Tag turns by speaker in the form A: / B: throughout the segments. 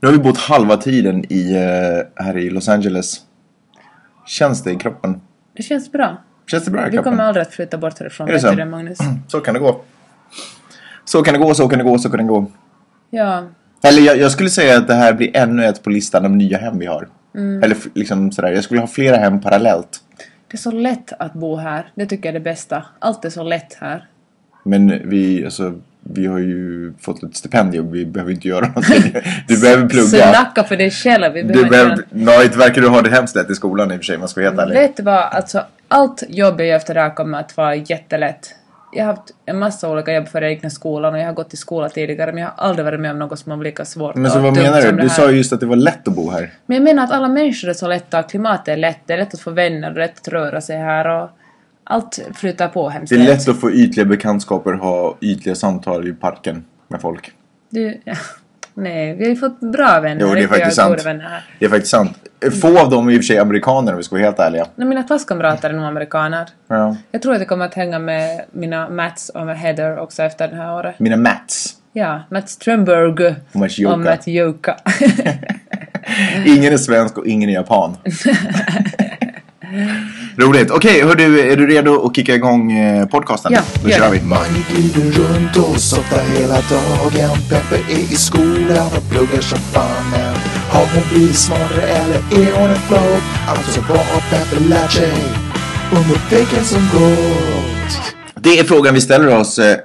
A: Nu har vi bott halva tiden i, eh, här i Los Angeles. Känns det i kroppen?
B: Det känns bra.
A: Känns det bra i
B: Du
A: kroppen?
B: kommer aldrig att flytta bort härifrån.
A: Är det
B: Vet du
A: så?
B: det Magnus?
A: Så kan det gå. Så kan det gå, så kan det gå, så kan det gå.
B: Ja.
A: Eller jag, jag skulle säga att det här blir ännu ett på listan av nya hem vi har.
B: Mm.
A: Eller f- liksom sådär, jag skulle ha flera hem parallellt.
B: Det är så lätt att bo här. Det tycker jag är det bästa. Allt är så lätt här.
A: Men vi, alltså, vi har ju fått ett stipendium, vi behöver inte göra någonting. Du behöver plugga.
B: Snacka för dig själv. Vi
A: Du
B: behöver
A: behöver,
B: inte
A: nej, det verkar du ha det hemskt lätt i skolan i och för sig, om man ska vara helt
B: göra-
A: ärlig.
B: Vet du vad? Alltså, allt jobb jag gör efter det här kommer att vara jättelätt. Jag har haft en massa olika jobb för jag gick i skolan och jag har gått i skola tidigare men jag har aldrig varit med om något som har varit lika svårt
A: Men så
B: och
A: vad
B: dumt
A: menar
B: som
A: du?
B: det
A: Du
B: här.
A: sa ju just att det var lätt att bo här.
B: Men jag menar att alla människor är så lätta, klimatet är lätt, det är lätt att få vänner, det är lätt att röra sig här och allt flyttar på hemskt
A: Det är lätt att få ytliga bekantskaper, ha ytliga samtal i parken med folk.
B: Du, ja, nej, vi har ju fått bra vänner.
A: Jo, det är
B: riktigt
A: faktiskt
B: goda
A: sant.
B: Vänner här.
A: Det är faktiskt sant. Få av dem är i och för sig amerikaner om vi ska vara helt ärliga.
B: Nej, mina klasskamrater är nog amerikaner.
A: Ja.
B: Jag tror att jag kommer att hänga med mina Mats och med Heather också efter det här året.
A: Mina Mats.
B: Ja, Mats Trumberg
A: Mats
B: och
A: Joka.
B: Mats Joka.
A: Ingen är svensk och ingen är japan. Roligt. Okej, hör du, är du redo att kicka igång eh, podcasten?
B: Ja,
A: Då
B: gör
A: kör
B: det.
A: vi.
C: Man glider runt och softar hela dagen Peppe är i skolan och pluggar som fanen Har hon blivit smartare eller är hon en flow? Alltså vad har Peppe lärt sig under veckan som gått?
A: Det är frågan vi ställer oss eh,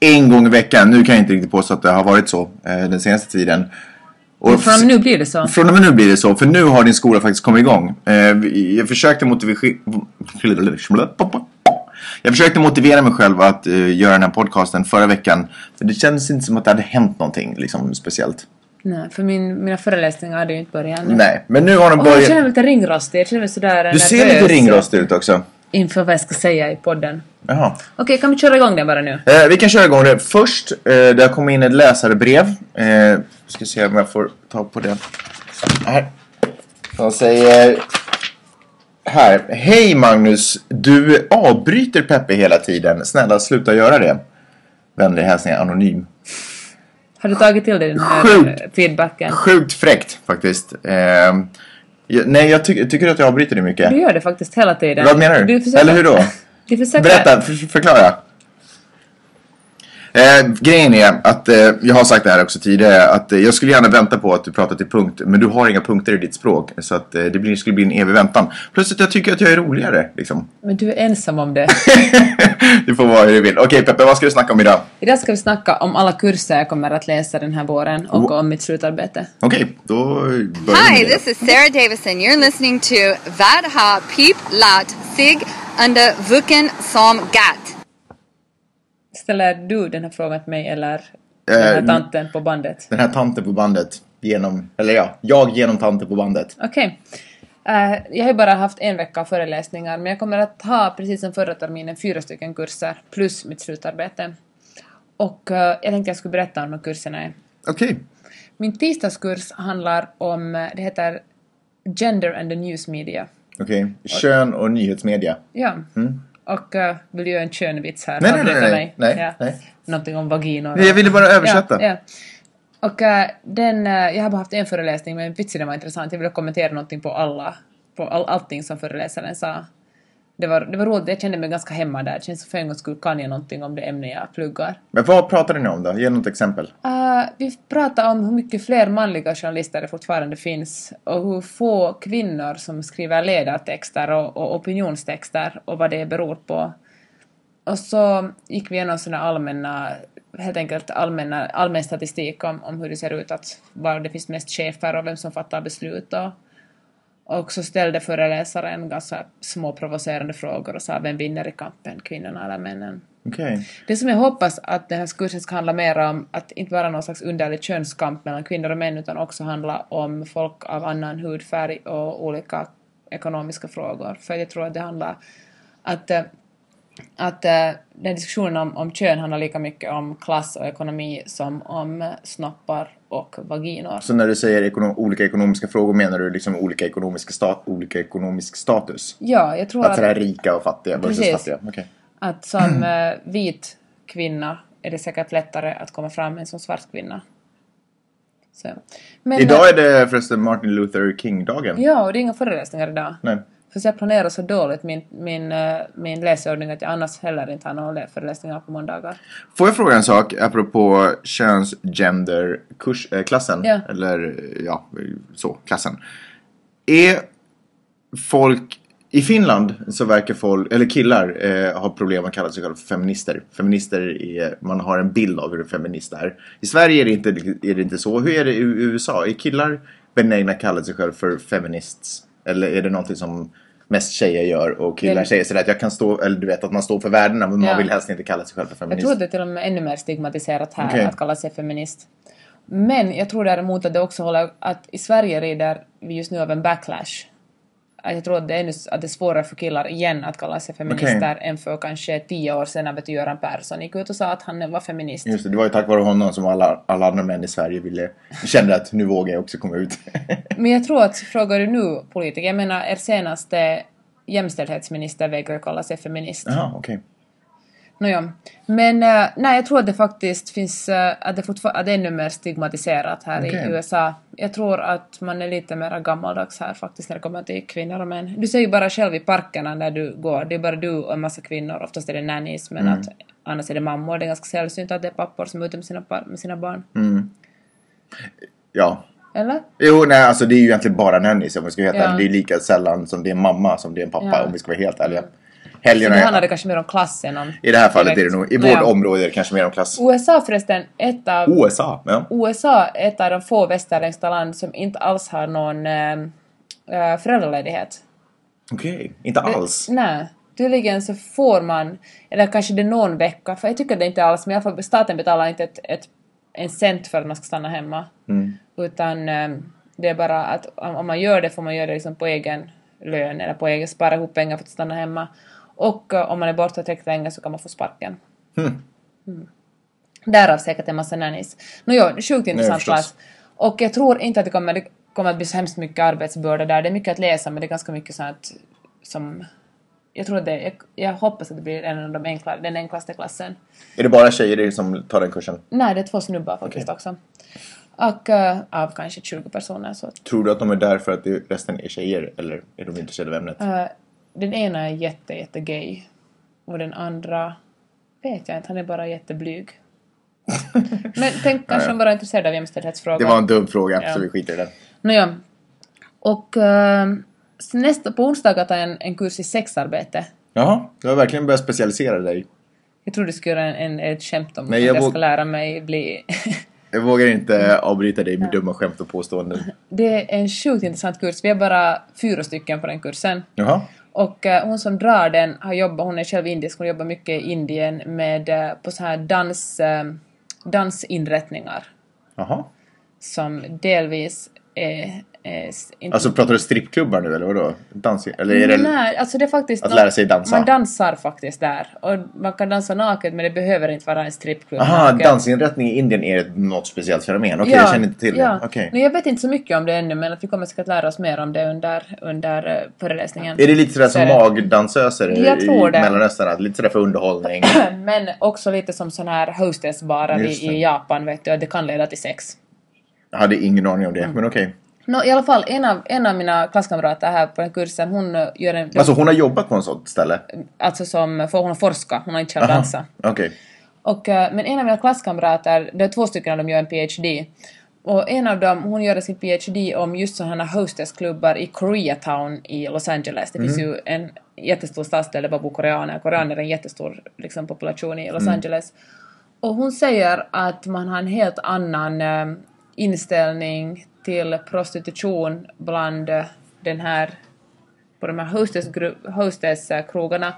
A: en gång i veckan. Nu kan jag inte riktigt påstå att det har varit så eh, den senaste tiden. Och
B: Från nu blir det så.
A: Från och med nu blir det så, för nu har din skola faktiskt kommit igång. Eh, vi- Jag försökte motivera... Jag försökte motivera mig själv att eh, göra den här podcasten förra veckan. För det kändes inte som att det hade hänt någonting liksom, speciellt.
B: Nej, för min, mina föreläsningar hade ju inte börjat ännu.
A: Nej, men nu har de
B: Och jag känner
A: börjat.
B: mig lite ringrostig. Jag känner mig sådär
A: Du ser lite ringrostig ut också.
B: Inför vad jag ska säga i podden.
A: Jaha.
B: Okej, kan vi köra igång den bara nu?
A: Eh, vi kan köra igång det. Först, eh, det har kommit in ett läsarbrev. Eh, ska se om jag får ta på det. Här. De säger... Här. Hej Magnus! Du avbryter Peppe hela tiden. Snälla sluta göra det. Vänlig hälsning Anonym.
B: Har du tagit till dig den här
A: Sjukt.
B: eh, feedbacken?
A: Sjukt fräckt faktiskt. Eh, jag, nej, jag ty- tycker du att jag avbryter dig mycket?
B: Du gör det faktiskt hela tiden.
A: Vad menar du?
B: försöker-
A: Eller hur då?
B: Du försöker...
A: Berätta, för, förklara. Eh, grejen är att eh, jag har sagt det här också tidigare att eh, jag skulle gärna vänta på att du pratar till punkt men du har inga punkter i ditt språk så att eh, det blir, skulle bli en evig väntan. Plus att jag tycker att jag är roligare liksom.
B: Men du är ensam om det.
A: du får vara hur du vill. Okej Peppe, vad ska du snacka om idag?
B: Idag ska vi snacka om alla kurser jag kommer att läsa den här våren och
A: Oh.
B: om mitt slutarbete.
A: Okej, då börjar vi
D: Hi,
A: med det.
D: this is Sarah Davison. You're listening to Vadha Peep Lat Sig under Vuken Som Gat.
B: Ställer du den här frågan till mig eller den
A: Eh,
B: här tanten på bandet?
A: Den här tanten på bandet genom, eller ja, jag genom tanten på bandet.
B: Okej. Eh, jag har ju bara haft en vecka av föreläsningar men jag kommer att ha, precis som förra terminen, fyra stycken kurser plus mitt slutarbete. Och eh, jag tänkte jag skulle berätta om de här kurserna är.
A: Okej.
B: Min tisdagskurs handlar om, eh, det heter Gender and the News Media.
A: Okej. Kön och nyhetsmedia.
B: Ja. Och eh, vill du göra en könvits här?
A: Mm. Nej, nej,
B: Avbryta
A: nej, nej.
B: mig.
A: Nej,
B: ja.
A: nej.
B: Någonting om vaginor.
A: Nej, jag ville bara översätta.
B: Ja, ja. Och eh, den, eh, jag har bara haft en föreläsning men vitsen den var intressant. Jag ville kommentera någonting på alla, på all, allting som föreläsaren sa. Det var, det var roligt, jag kände mig ganska hemma där. Det känns som för en gångs skull kan jag någonting om det ämne jag pluggar.
A: Men vad pratade ni om då? Ge något exempel.
B: Eh, vi pratar om hur mycket fler manliga journalister det fortfarande finns och hur få kvinnor som skriver ledartexter och, och opinionstexter och vad det beror på. Och så gick vi igenom sådana allmänna, helt enkelt allmänna, allmän statistik om, om hur det ser ut, att var det finns mest chefer och vem som fattar beslut och, och så ställde föreläsaren ganska små provocerande frågor och sa vem vinner i kampen, kvinnorna eller männen?
A: Okej.
B: Det som jag hoppas att den här kursen ska handla mer om, att inte bara någon slags underlig könskamp mellan kvinnor och män, utan också handla om folk av annan hudfärg och olika ekonomiska frågor. För jag tror att det handlar... Att, eh, att eh, den diskussionen om, om kön handlar lika mycket om klass och ekonomi som om eh, snoppar och vaginor.
A: Så när du säger ekono- olika ekonomiska frågor menar du liksom olika, ekonomiska sta- olika ekonomisk status?
B: Ja, jag tror
A: Att sådär
B: att,
A: rika och fattiga versus
B: Precis.
A: fattiga? Okej.
B: att som eh, vit kvinna är det säkert lättare att komma fram än som svart kvinna. Så. Men,
A: Idag är det förresten Martin Luther King-dagen.
B: Ja, och det är inga föreläsningar idag.
A: Nej.
B: För jag planerar så dåligt min, min, eh, min läsordning att jag annars heller inte har några lä- föreläsningar på måndagar.
A: Får jag fråga en sak apropå köns, gender, kurs, eh, klassen?
B: Ja.
A: Eller eh, ja, så, klassen. Är folk i Finland så verkar folk, eller killar, eh, ha problem att kalla sig själva för feminister. Feminister är, man har en bild av hur en feminist är. I Sverige är det inte, är det inte så. Hur är det i USA? Är killar benägna att kalla sig själva för feminists? Eller är det någonting som mest tjejer gör och killar
B: Det-
A: säger sådär att jag kan stå, eller du vet att man står för värdena men
B: Ja.
A: man vill helst inte kalla sig själv för
B: Jag
A: feminist.
B: tror att det är till och med ännu mer stigmatiserat här
A: Okej.
B: att kalla sig feminist. Men jag tror däremot att det också håller att i Sverige rider vi just nu av en backlash. Att Jag tror att det är, ännu, att det är svårare för killar igen att kalla sig feminister än för kanske tio år sedan när vet du, Göran Persson gick ut och sa att han var feminist.
A: Just det, det var ju tack vare honom som alla, alla andra män i Sverige ville, kände att nu vågar jag också komma ut.
B: Men jag tror att frågar du nu politiker, jag menar er senaste jämställdhetsminister vägrar kalla sig feminist.
A: Jaha, okej.
B: Nåja. Men eh, nej, jag tror att det faktiskt finns, eh, att det fortfarande att det är ännu mer stigmatiserat här
A: Okej.
B: i USA. Jag tror att man är lite mer gammaldags här faktiskt när det kommer till kvinnor och män. Du ser ju bara själv i parkerna när du går, det är bara du och en massa kvinnor, oftast är det nannies, men
A: Mm.
B: att annars är det mammor, det är ganska sällsynt att det är pappor som är ute med sina, par- med sina barn.
A: Mm. Ja.
B: Eller?
A: Jo, nej, alltså det är ju egentligen bara nannies om vi ska vara helt
B: Ja.
A: ärliga. Det är lika sällan som det är en mamma som det är en pappa
B: Ja.
A: om vi ska vara helt ärliga.
B: Så det handlar
A: Helgerna,
B: det kanske mer om klass än om...
A: i det här fallet är
B: direkt.
A: det nog, i vårt
B: Nåja.
A: område är det kanske mer om klass.
B: USA förresten, ett av...
A: USA, ja.
B: USA är ett av de få västerländska land som inte alls har någon eh, eh, föräldraledighet.
A: Okej, inte alls.
B: Nej. Tydligen så får man, eller kanske det är någon vecka, för jag tycker det inte alls, men i alla fall staten betalar inte ett, ett, en cent för att man ska stanna hemma. Utan eh, det är bara att om om man gör det får man göra det liksom på egen lön eller på egen, spara ihop pengar för att stanna hemma. Och eh, om man är borta tillräckligt länge så kan man få sparken. Mm. Därav säkert en massa nannies. Nåjo, sjukt intressant
A: förstås.
B: plats. Och jag tror inte att det kommer, det kommer att bli så hemskt mycket arbetsbörda där. Det är mycket att läsa men det är ganska mycket sånt som... Jag tror att det, jag, jag hoppas att det blir en av de enkla, den enklaste klassen.
A: Är det bara tjejer som tar den kursen?
B: Nej, det är två snubbar faktiskt också. Och eh, av kanske 20 personer så att
A: Tror du att de är där för att det, resten är tjejer eller är de intresserade av ämnet?
B: Eh, den ena är jätte, jätte gay. Och den andra vet jag inte, han är bara jätteblyg. Men tänk kanske de bara är intresserade av jämställdhetsfrågor.
A: Det var en dum fråga,
B: Ja.
A: så vi skiter i den.
B: Nåja. Och eh, s- nästa, på onsdagar tar jag en, en kurs i sexarbete.
A: Jaha, du har verkligen börjat specialisera dig.
B: Jag trodde du skulle göra en, en, ett skämt om
A: Nej,
B: att
A: jag
B: jag,
A: våg-
B: ska lära mig bli...
A: Jag vågar inte
B: Mm.
A: avbryta dig med dumma skämt och påståenden.
B: det är en sjukt intressant kurs. Vi är bara fyra stycken på den kursen.
A: Jaha.
B: Och eh, hon som drar den har jobbat, hon är själv indisk, hon jobbar mycket i Indien med, eh, på så här dans, eh, dansinrättningar
A: Jaha.
B: som delvis är... är s- inte-
A: Alltså pratar du strippklubbar nu eller vadå? Dans, eller är det...
B: Nej, alltså det är faktiskt
A: att
B: nå-
A: lära sig dansa?
B: Man dansar faktiskt där. Och man kan dansa naket men det behöver inte vara en strippklubb.
A: Aha,
B: naken.
A: dansinrättning i Indien är ett- något speciellt fenomen. Okej, jag känner inte till
B: ja.
A: det. Okej.
B: Nej, jag vet inte så mycket om det ännu men att vi kommer säkert lära oss mer om det under, under eh, föreläsningen.
A: Är det lite sådär
B: Så är
A: som
B: det.
A: magdansöser i,
B: Jag tror
A: i
B: det.
A: Mellanöstern? Att lite sådär för underhållning?
B: Men också lite som sån här hostessbarer i,
A: Just det.
B: i Japan vet du, att det kan leda till sex.
A: Jag hade ingen aning om det,
B: Mm.
A: men okej.
B: Nå, i alla fall, en av, en av mina klasskamrater här på den kursen, hon eh, gör en...
A: Alltså hon har jobbat på en sånt ställe?
B: alltså som, för hon har forskat, hon har inte själv
A: Aha,
B: dansat.
A: Okej.
B: Och, eh, men en av mina klasskamrater, det är två stycken av dem gör en PhD. Och en av dem, hon gör sin PhD om just sådana här hostessklubbar i Koreatown i Los Angeles. Det finns ju en jättestor stadsdel där bara bor koreaner. Koreaner är en jättestor liksom, population i Los Angeles. Och hon säger att man har en helt annan eh, inställning till prostitution bland eh, den här på de här hostess- hostesskrogarna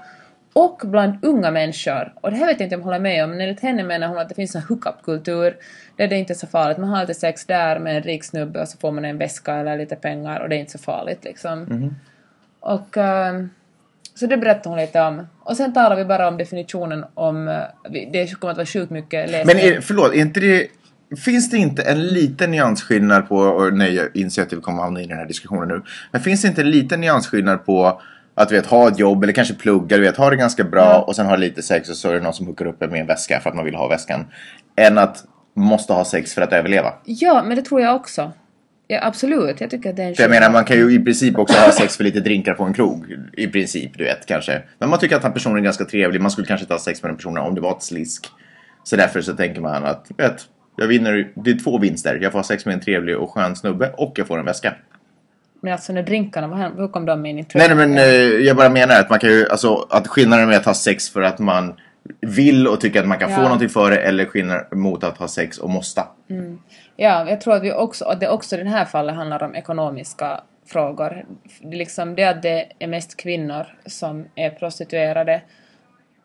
B: och bland unga människor. Och det här vet jag inte om jag håller med om, men enligt henne menar hon att det finns en hookup-kultur där det inte är så farligt. Man har lite sex där med en rik snubbe och så får man en väska eller lite pengar och det är inte så farligt liksom.
A: Mhm.
B: Och, ehm, så det berättar hon lite om. Och sen talar vi bara om definitionen om... eh, vi- Det kommer att vara sjukt mycket läsning.
A: Men är, förlåt, är inte det... Finns det inte en liten nyansskillnad på... och Nej, jag inser att vi kommer hamna i den här diskussionen nu. Men finns det inte en liten nyansskillnad på att du vet, ha ett jobb eller kanske plugga, du vet, ha det ganska bra och sen ha lite sex och så är det någon som hookar upp en med en väska för att man vill ha väskan. Än att måste ha sex för att överleva.
B: Ja, men det tror jag också. Ja, absolut, jag tycker att det är en
A: För jag menar man kan ju i princip också ha sex för lite drinkar på en krog. I princip, du vet kanske. Men man tycker att den personen är ganska trevlig. Man skulle kanske inte ha sex med den personen om det var ett slisk. Så därför så tänker man att, vet, jag vinner, det är två vinster. Jag får ha sex med en trevlig och skön snubbe och jag får en väska.
B: Men alltså när drinkarna, vad hände? Hur kom de in i
A: Nej, nej men eh, jag bara menar att man kan ju, alltså att skillnaden med att ha sex för att man vill och tycker att man kan få
B: Ja.
A: någonting för det eller skillnaden mot att ha sex och måste.
B: Ja, jag tror att, vi också, att det också i den här fallet handlar om ekonomiska frågor. Det, är liksom det att det är mest kvinnor som är prostituerade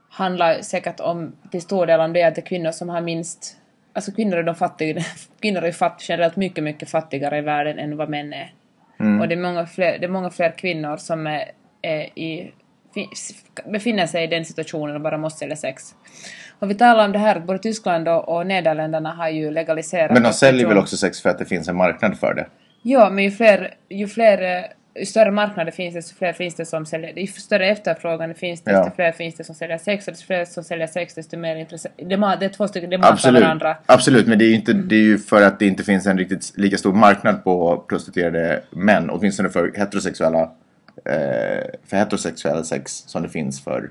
B: handlar säkert om, till stor del om det att det är kvinnor som har minst... Alltså kvinnor är, de fattiga, kvinnor är fatt, generellt mycket, mycket fattigare i världen än vad män är.
A: Mm.
B: Och det är, många fler, det är många fler kvinnor som är, är i, finns- befinner sig i den situationen och bara måste sälja sex. Och vi talar om det här att både Tyskland och, och Nederländerna har ju legaliserat
A: Men de säljer
B: prostitution.
A: väl också sex för att det finns en marknad för det.
B: Ja, men ju fler, ju fler eh, ju större marknader finns det, så fler finns det som säljer. Ju större efterfrågan det finns det,
A: Ja.
B: desto fler finns det som säljer sex. Och desto fler som säljer sex, desto mer intresse. Det, ma- det är två stycken, det matar
A: Absolut.
B: varandra.
A: Absolut, men det är ju inte, det är ju för att det inte finns en riktigt lika stor marknad på prostituerade män. Åtminstone för heterosexuella, eh, för heterosexuella sex som det finns för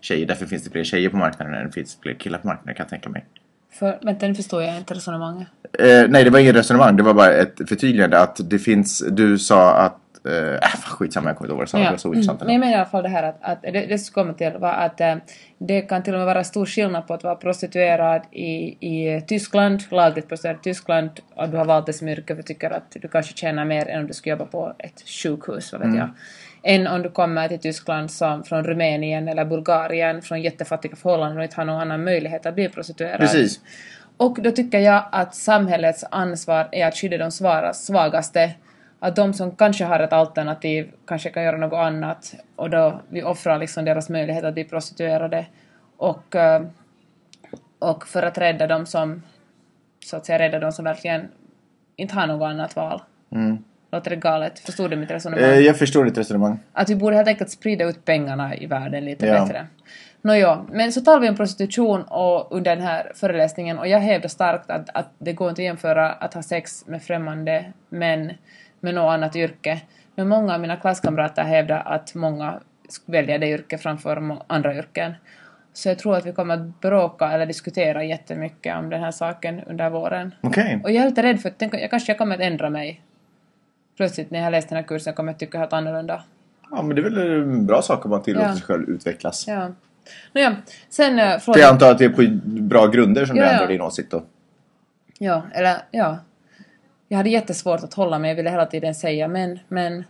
A: tjejer. Därför finns det fler tjejer på marknaden än det finns fler killar på marknaden kan jag tänka mig.
B: För, vänta, nu förstår jag inte resonemanget.
A: Eh, nej, det var inget resonemang. Det var bara ett förtydligande att det finns, du sa att, eh, äh, skitsamma jag kommer inte ihåg vad jag sa. Det var så ointressant.
B: Mm. Men jag menar i alla fall det här att, att det, det som kommer till var att eh, det kan till och med vara stor skillnad på att vara prostituerad i, i Tyskland, lagligt prostituerad i Tyskland, och du har valt det som yrke för tycker att du kanske tjänar mer än om du skulle jobba på ett sjukhus, vad
A: Mm.
B: vet jag. Än om du kommer till Tyskland som från Rumänien eller Bulgarien, från jättefattiga förhållanden och inte har någon annan möjlighet att bli prostituerad.
A: Precis.
B: Och då tycker jag att samhällets ansvar är att skydda de svara- svagaste. Att de som kanske har ett alternativ kanske kan göra något annat och då vi offrar liksom deras möjlighet att bli prostituerade. Och, eh, och för att rädda de som, så att säga rädda de som verkligen inte har något annat val. Låter det galet? Förstod du mitt resonemang?
A: Eh, jag förstår ditt resonemang.
B: Att vi borde helt enkelt sprida ut pengarna i världen lite
A: Ja.
B: bättre. Nåja, men så talar vi om prostitution och under den här föreläsningen och jag hävdar starkt att, att det går inte att jämföra att ha sex med främmande män med något annat yrke. Men många av mina klasskamrater hävdar att många sk- väljer det yrket framför må- andra yrken. Så jag tror att vi kommer att bråka eller diskutera jättemycket om den här saken under våren.
A: Okej.
B: Och jag är lite rädd för att tänk, jag kanske jag kommer att ändra mig. Plötsligt när jag har läst den här kursen kommer jag att tycka helt annorlunda.
A: Ja, men det är väl en bra sak om man tillåter
B: Ja.
A: sig själv utvecklas.
B: Ja. Nåja, sen eh,
A: För jag
B: frågan...
A: antar att det är på bra grunder som
B: Ja,
A: du
B: ja.
A: ändrar din åsikt då?
B: Ja, eller ja. Jag hade jättesvårt att hålla mig, jag ville hela tiden säga men, men.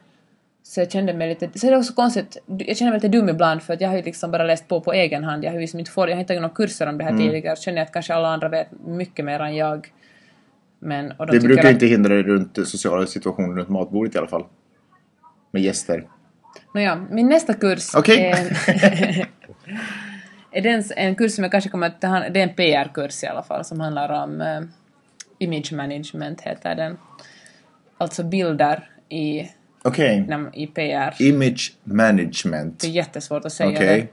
B: Så jag kände mig lite... Så är det också konstigt, jag känner mig lite dum ibland för att jag har ju liksom bara läst på på egen hand. Jag har ju liksom inte fått, jag har inte tagit några kurser om det här
A: Mm.
B: tidigare. Känner jag att kanske alla andra vet mycket mer än jag. Men, och de
A: Det
B: tycker
A: brukar
B: att,
A: inte hindra dig runt sociala situationer runt matbordet i alla fall. Med gäster.
B: Nåja, min nästa kurs
A: Okej.
B: är, är den, en kurs som jag kanske kommer att ta hand Det är en PR-kurs i alla fall som handlar om eh, image management heter den. Alltså bilder i,
A: Okej.
B: nam- i PR.
A: Image management.
B: Det är jättesvårt att säga det.
A: Okej.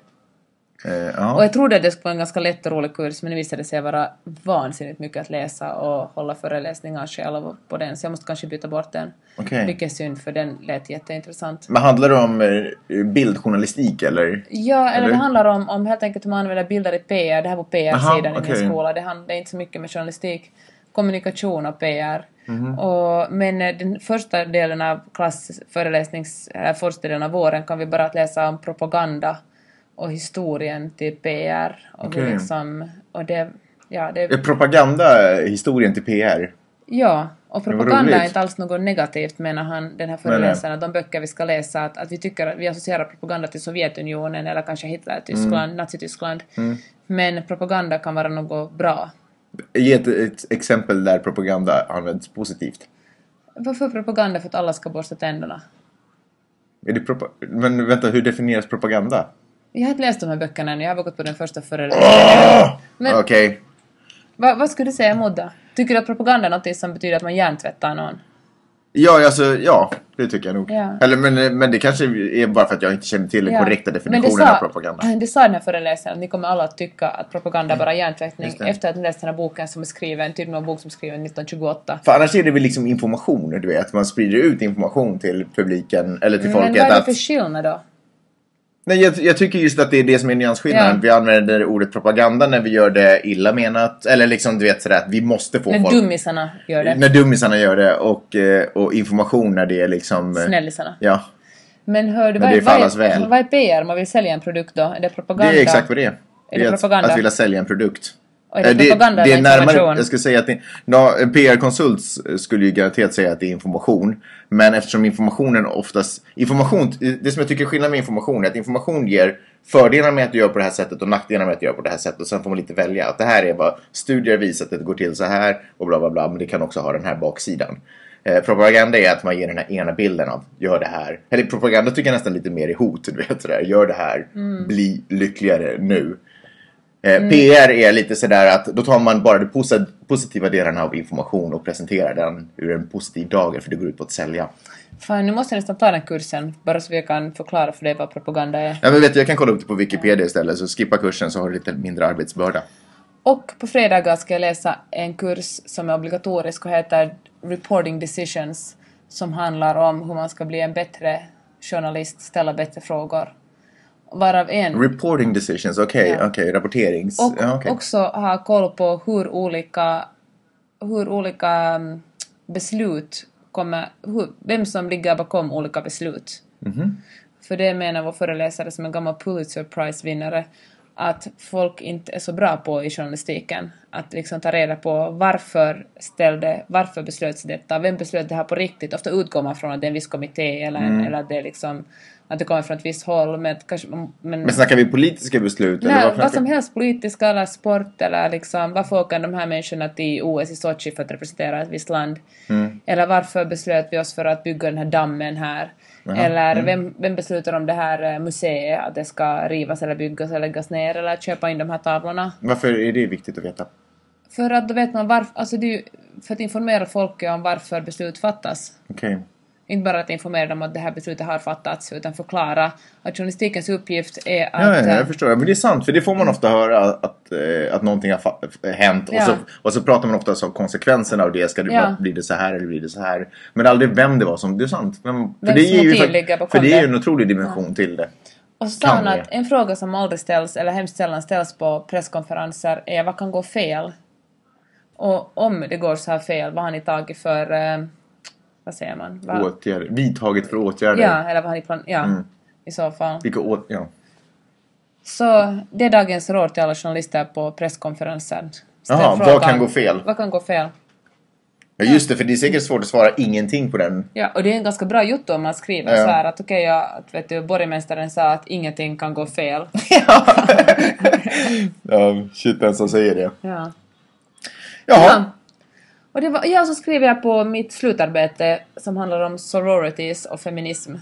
A: Eh,
B: Och
A: Ja.
B: jag trodde att det skulle vara en ganska lätt och rolig kurs men det visade sig vara vansinnigt mycket att läsa och hålla föreläsningar själv på den så jag måste kanske byta bort den.
A: Okej.
B: Vilket är synd för den lät jätteintressant.
A: Men handlar det om eh, bildjournalistik eller?
B: Ja, eller
A: Eller?
B: det handlar om, om helt enkelt hur man använder bilder i PR. Det här var PR-sidan
A: Aha,
B: i
A: okej.
B: min skola. Det, hand, det är inte så mycket med journalistik, kommunikation och PR.
A: Mhm.
B: Och, men eh, den första delen av klassföreläsnings... Eller första delen av våren kan vi bara att läsa om propaganda och historien till PR. Och, hur
A: Okej.
B: liksom, och det... Ja, det,
A: Är propaganda historien till PR?
B: Ja, och
A: vad
B: propaganda är
A: roligt.
B: inte alls något negativt menar han, den här
A: nej.
B: föreläsaren, att de böcker vi ska läsa, att, att vi tycker att vi associerar propaganda till Sovjetunionen eller kanske Hitler-Tyskland,
A: Mm.
B: Nazityskland. Men propaganda kan vara något bra.
A: Ge ett, ett exempel där propaganda används positivt.
B: Varför propaganda? För att alla ska borsta tänderna.
A: Är det propa- Men vänta, hur definieras propaganda?
B: Jag har inte läst de här böckerna ännu, jag har bara gått på den första föreläsningen. Men-
A: Okej.
B: Va, vad skulle du säga emot då? Tycker du att propaganda är något som betyder att man hjärntvättar någon?
A: Ja, alltså, ja, det tycker jag nog.
B: Ja.
A: Eller, men, men det kanske är bara för att jag inte känner till den
B: Ja.
A: korrekta
B: Men
A: definitionen
B: det
A: av propaganda. Mm.
B: Det sa den här föreläsaren att ni kommer alla att tycka att propaganda bara är hjärntvättning
A: Just det.
B: efter att ni läst den här boken som är skriven, typ någon bok som är skriven 1928.
A: För annars är det väl liksom information, du vet. Man sprider ut information till publiken, eller till
B: Mm, Men vad
A: folket.
B: är det
A: Att,
B: för skillnad då?
A: nej, jag, jag tycker just att det är det som är nyansskillnaden.
B: Ja.
A: Vi använder ordet propaganda när vi gör det illa menat. Eller liksom, du vet sådär att vi måste få
B: När
A: folk...
B: dummisarna gör det.
A: När dummisarna gör det. Och, eh, och information när det är liksom... eh,
B: Snällisarna.
A: Ja,
B: Men hör du,
A: Men
B: vad
A: det är
B: är,
A: för
B: vad,
A: allas
B: är,
A: väl.
B: vad är PR? Man vill sälja en produkt då? Är det propaganda?
A: det är exakt vad det är.
B: det
A: att,
B: propaganda?
A: att vilja sälja en produkt.
B: Och är det
A: Eh,
B: propaganda
A: det är
B: eller information?
A: närmare, jag skulle säga att det, ja, en PR-konsult skulle ju garanterat säga att det är information. Men eftersom informationen oftast... Information, det som jag tycker är skillnad med information är att information ger fördelar med att du gör på det här sättet och nackdelar med att du gör på det här sättet. Och sen får man lite välja att det här är vad studier visar att det går till så här och bla bla bla. Men det kan också ha den här baksidan. Eh, propaganda är att man ger den här ena bilden av gör det här. Eller propaganda tycker jag nästan lite mer är hot. Du vet sådär, gör det här,
B: Mm.
A: bli lyckligare nu. Eh, PR är lite sådär att då tar man bara de posi- positiva delarna av information och presenterar den ur en positiv dager för det går ut på att sälja.
B: Fan, nu måste jag nästan ta den kursen. Bara så vi kan förklara för dig vad propaganda är.
A: Ja, men vet du, jag kan kolla upp det på Wikipedia istället så skippa kursen så har du lite mindre arbetsbörda.
B: Och på fredagar ska jag läsa en kurs som är obligatorisk och heter Reporting Decisions som handlar om hur man ska bli en bättre journalist, ställa bättre frågor. Varav en...
A: Reporting decisions, okej,
B: Ja.
A: okej, rapporterings...
B: Och
A: ja, okej.
B: också ha koll på hur olika, hur olika mm, beslut kommer, hur, vem som ligger bakom olika beslut.
A: Mhm.
B: För det menar vår föreläsare som en gammal Pulitzer Prize-vinnare att folk inte är så bra på i journalistiken. Att liksom ta reda på varför ställde, varför beslöts detta, vem beslöt det här på riktigt? Ofta utgår man från att det är en viss kommitté eller,
A: Mm.
B: en, eller att det är liksom att det kommer från ett visst håll. Men, att kanske, men
A: Men snackar vi politiska beslut? eller
B: Nej,
A: vad för
B: vad som
A: något?
B: helst, politiska eller sport eller liksom varför åker de här människorna till OS i Sochi för att representera ett visst land?
A: Mm.
B: Eller varför beslöt vi oss för att bygga den här dammen här? Eller
A: mm.
B: vem, vem beslutar om det här eh, museet, att det ska rivas eller byggas eller läggas ner eller köpa in de här tavlorna?
A: Varför är det viktigt att veta?
B: För att då vet man varför, alltså det är ju för att informera folket om varför beslut fattas.
A: Okej.
B: Inte bara att informera dem att det här beslutet har fattats, utan förklara att journalistikens uppgift är
A: Ja,
B: att...
A: ja,
B: eh, Mm.
A: jag förstår. Men det är sant, för det får man ofta höra att, eh, att någonting har fa- hänt.
B: Ja.
A: Och, så, och så pratar man ofta om konsekvenserna av det. Ska det
B: Ja.
A: vara- blir det så här eller blir det så här? Men aldrig vem det var som... Det är sant. Men, för
B: Vems
A: det är ju,
B: motiv
A: fakt-
B: ligger bakom
A: För det är ju
B: det?
A: en otrolig dimension till det.
B: Och så sa han
A: Kan
B: att en fråga som aldrig ställs, eller hemskt sällan ställs på presskonferenser är vad kan gå fel? Och om det går så här fel, vad har ni tagit för... Eh, vad säger man? Vad-
A: Åtgärder. Mm. Vidtaget för åtgärder.
B: ja, eller vad har ni plan... Ja, i så fall.
A: Vilka åt... Ja.
B: Så det är dagens råd till alla journalister på presskonferenser. Ställ
A: Jaha, vad
B: frågan,
A: kan gå fel?
B: Vad kan gå fel?
A: ja, just det. För det är säkert svårt att svara ingenting på den.
B: Ja, och det är en ganska bra gjort om man skriver
A: Ja.
B: så här att okej, jag, att, vet du, borgmästaren sa att ingenting kan gå fel.
A: ja, shit den som säger det.
B: ja. Ja.
A: Jaha.
B: Och det var, ja, så skrev jag på mitt slutarbete som handlar om sororities och feminism.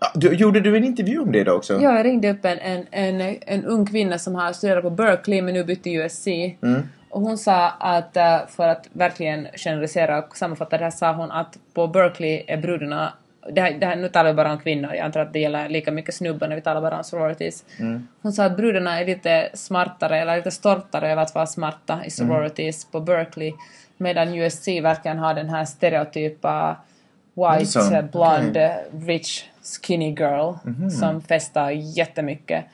A: Ja. Du, gjorde du en intervju om det idag också?
B: Ja, jag ringde upp en, en, en, en ung kvinna som har studerat på Berkeley men nu bytt till USC. Och hon sa att, eh, för att verkligen generalisera och sammanfatta det här, sa hon att på Berkeley är brudarna det här, det här, nu talar vi bara om kvinnor, jag antar att det gäller lika mycket snubbar när vi talar bara om sororities. Hon sa att brudarna är lite smartare, eller lite stoltare över att vara smarta i sororities på Berkeley, medan USC verkligen har den här stereotypa
A: det så?
B: white, eh, blond,
A: Okej. Mhm.
B: eh, rich skinny girl som festar jättemycket.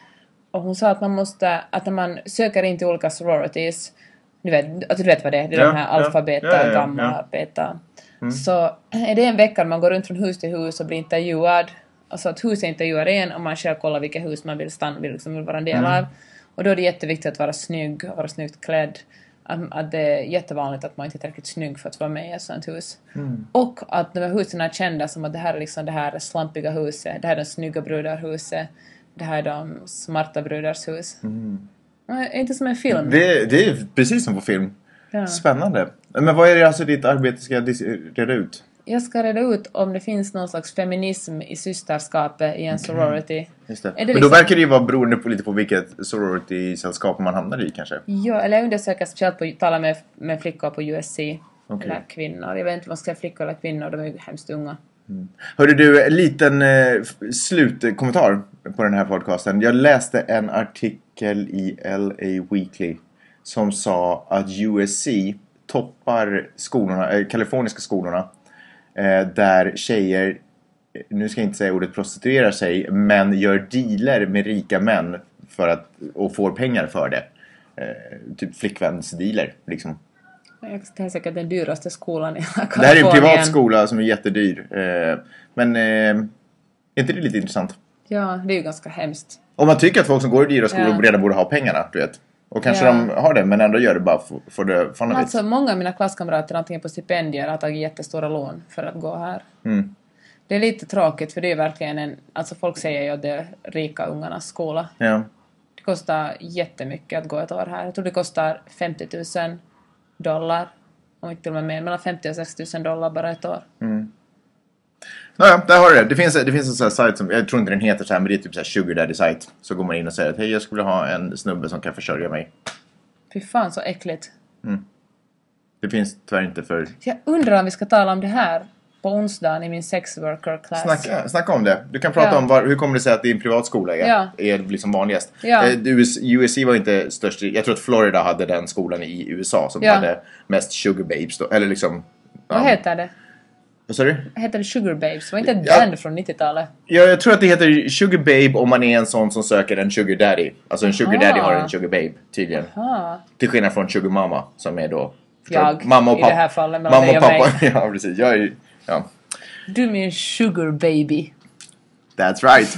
B: Och hon sa att man måste, att när man söker in till olika sororities, du vet, att du vet vad det är, det är
A: Ja,
B: de här
A: ja.
B: alfa, beta,
A: Ja, ja, ja,
B: gamma,
A: ja.
B: beta. Så är det en vecka man går runt från hus till hus och blir intervjuad, alltså att hus är intervjuar en och man själv kollar vilka hus man vill stanna, vill, liksom vill vara en del av. Och då är det jätteviktigt att vara snygg, att vara snyggt klädd. Att, att det är jättevanligt att man inte är tillräckligt snygg för att vara med i ett sånt hus. Och att de här husen är kända som att det här är liksom det här slampiga huset, det här är de snygga brudarhuset, det här är de smarta brudars hus. Nej, Inte som en film.
A: Det, det är precis som på film.
B: Ja.
A: Spännande. Men vad är det alltså ditt arbete ska dis- reda ut?
B: Jag ska reda ut om det finns någon slags feminism i systerskapet i en sorority.
A: Mhm. Just det.
B: Är det
A: Men
B: liksom-
A: då verkar det ju vara beroende på lite på vilket sorority-sällskap man hamnar i kanske.
B: Ja, eller jag undersöker speciellt på, tala med, med flickor på USC
A: Okej.
B: Eller kvinnor. Jag vet inte om man ska säga flickor eller kvinnor, de är ju hemskt unga.
A: Hörde du, en liten eh, f- slutkommentar på den här podcasten. Jag läste en artikel i LA Weekly som sa att USC toppar skolorna, eh, kaliforniska skolorna eh, där tjejer, eh, nu ska jag inte säga ordet prostituerar sig, men gör dealer med rika män för att, och får pengar för det. Eh, typ flickvänsdealer liksom.
B: Jag ska- Det här är säkert den dyraste skolan i hela
A: Det här är en
B: Kalifornien.
A: privat skola som är jättedyr. Eh, men eh, är inte det lite intressant?
B: Ja, det är ju ganska hemskt.
A: Om man tycker att folk som går i dyra skolor
B: Ja.
A: redan borde ha pengarna, du vet. Och kanske
B: Ja.
A: de har det, men ändå gör det bara för, för det fan av
B: Alltså, många av mina klasskamrater, antingen på stipendier, har tagit jättestora lån för att gå här.
A: Mm.
B: Det är lite tråkigt, för det är verkligen en... Alltså, folk säger ju att det är rika ungarnas skola.
A: Ja.
B: Det kostar jättemycket att gå ett år här. Jag tror det kostar 50 000 dollar, om inte till och med mer, mellan 50 000 och 60 000 dollar bara ett år.
A: Naja, där har du det. Det finns, det finns en sån här sajt som, jag tror inte den heter så här, men det är typ så här sugar daddy sajt. Så går man in och säger att hej, jag skulle ha en snubbe som kan försörja mig.
B: Fy fan så äckligt.
A: Det finns tyvärr inte för...
B: Jag undrar om vi ska tala om det här på onsdagen i min sexworker class.
A: Snacka, snacka om det. Du kan prata
B: Ja.
A: om var, hur kommer det sig att din privatskola är,
B: Ja.
A: är liksom vanligast.
B: Ja.
A: Eh, US, USC var inte störst. i- Jag tror att Florida hade den skolan i USA som
B: Ja.
A: hade mest sugar babes då. Eller liksom...
B: Vad heter det?
A: Vad sa du?
B: Heter det Sugar Babes? Var inte ett
A: Ja.
B: band från 90-talet?
A: Ja, jag tror att det heter Sugar Babe om man är en sån som söker en Sugar Daddy. Alltså en Sugar
B: Aha.
A: Daddy har en Sugar Babe tydligen.
B: Ah.
A: Till skillnad från Sugar Mama som är då... förstår
B: Jag,
A: du? mamma och
B: i
A: pappa.
B: det här fallet, mellan
A: mamma och
B: dig och
A: pappa. ja, precis. Jag är ju- Ja.
B: Du är min sugar baby.
A: That's right.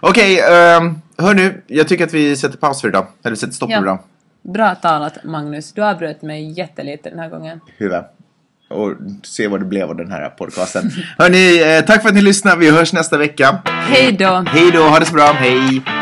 A: Okej, ehm, hör nu. Jag tycker att vi sätter paus för idag. Eller sätter stopp
B: Ja.
A: för idag.
B: Bra talat Magnus, du avbröt mig jättelite den här gången.
A: Huvud. Och se vad det blev av den här podcasten. Hörni, eh, tack för att ni lyssnade. Vi hörs nästa vecka.
B: Hej då!
A: Hej då, ha det så bra. Hej.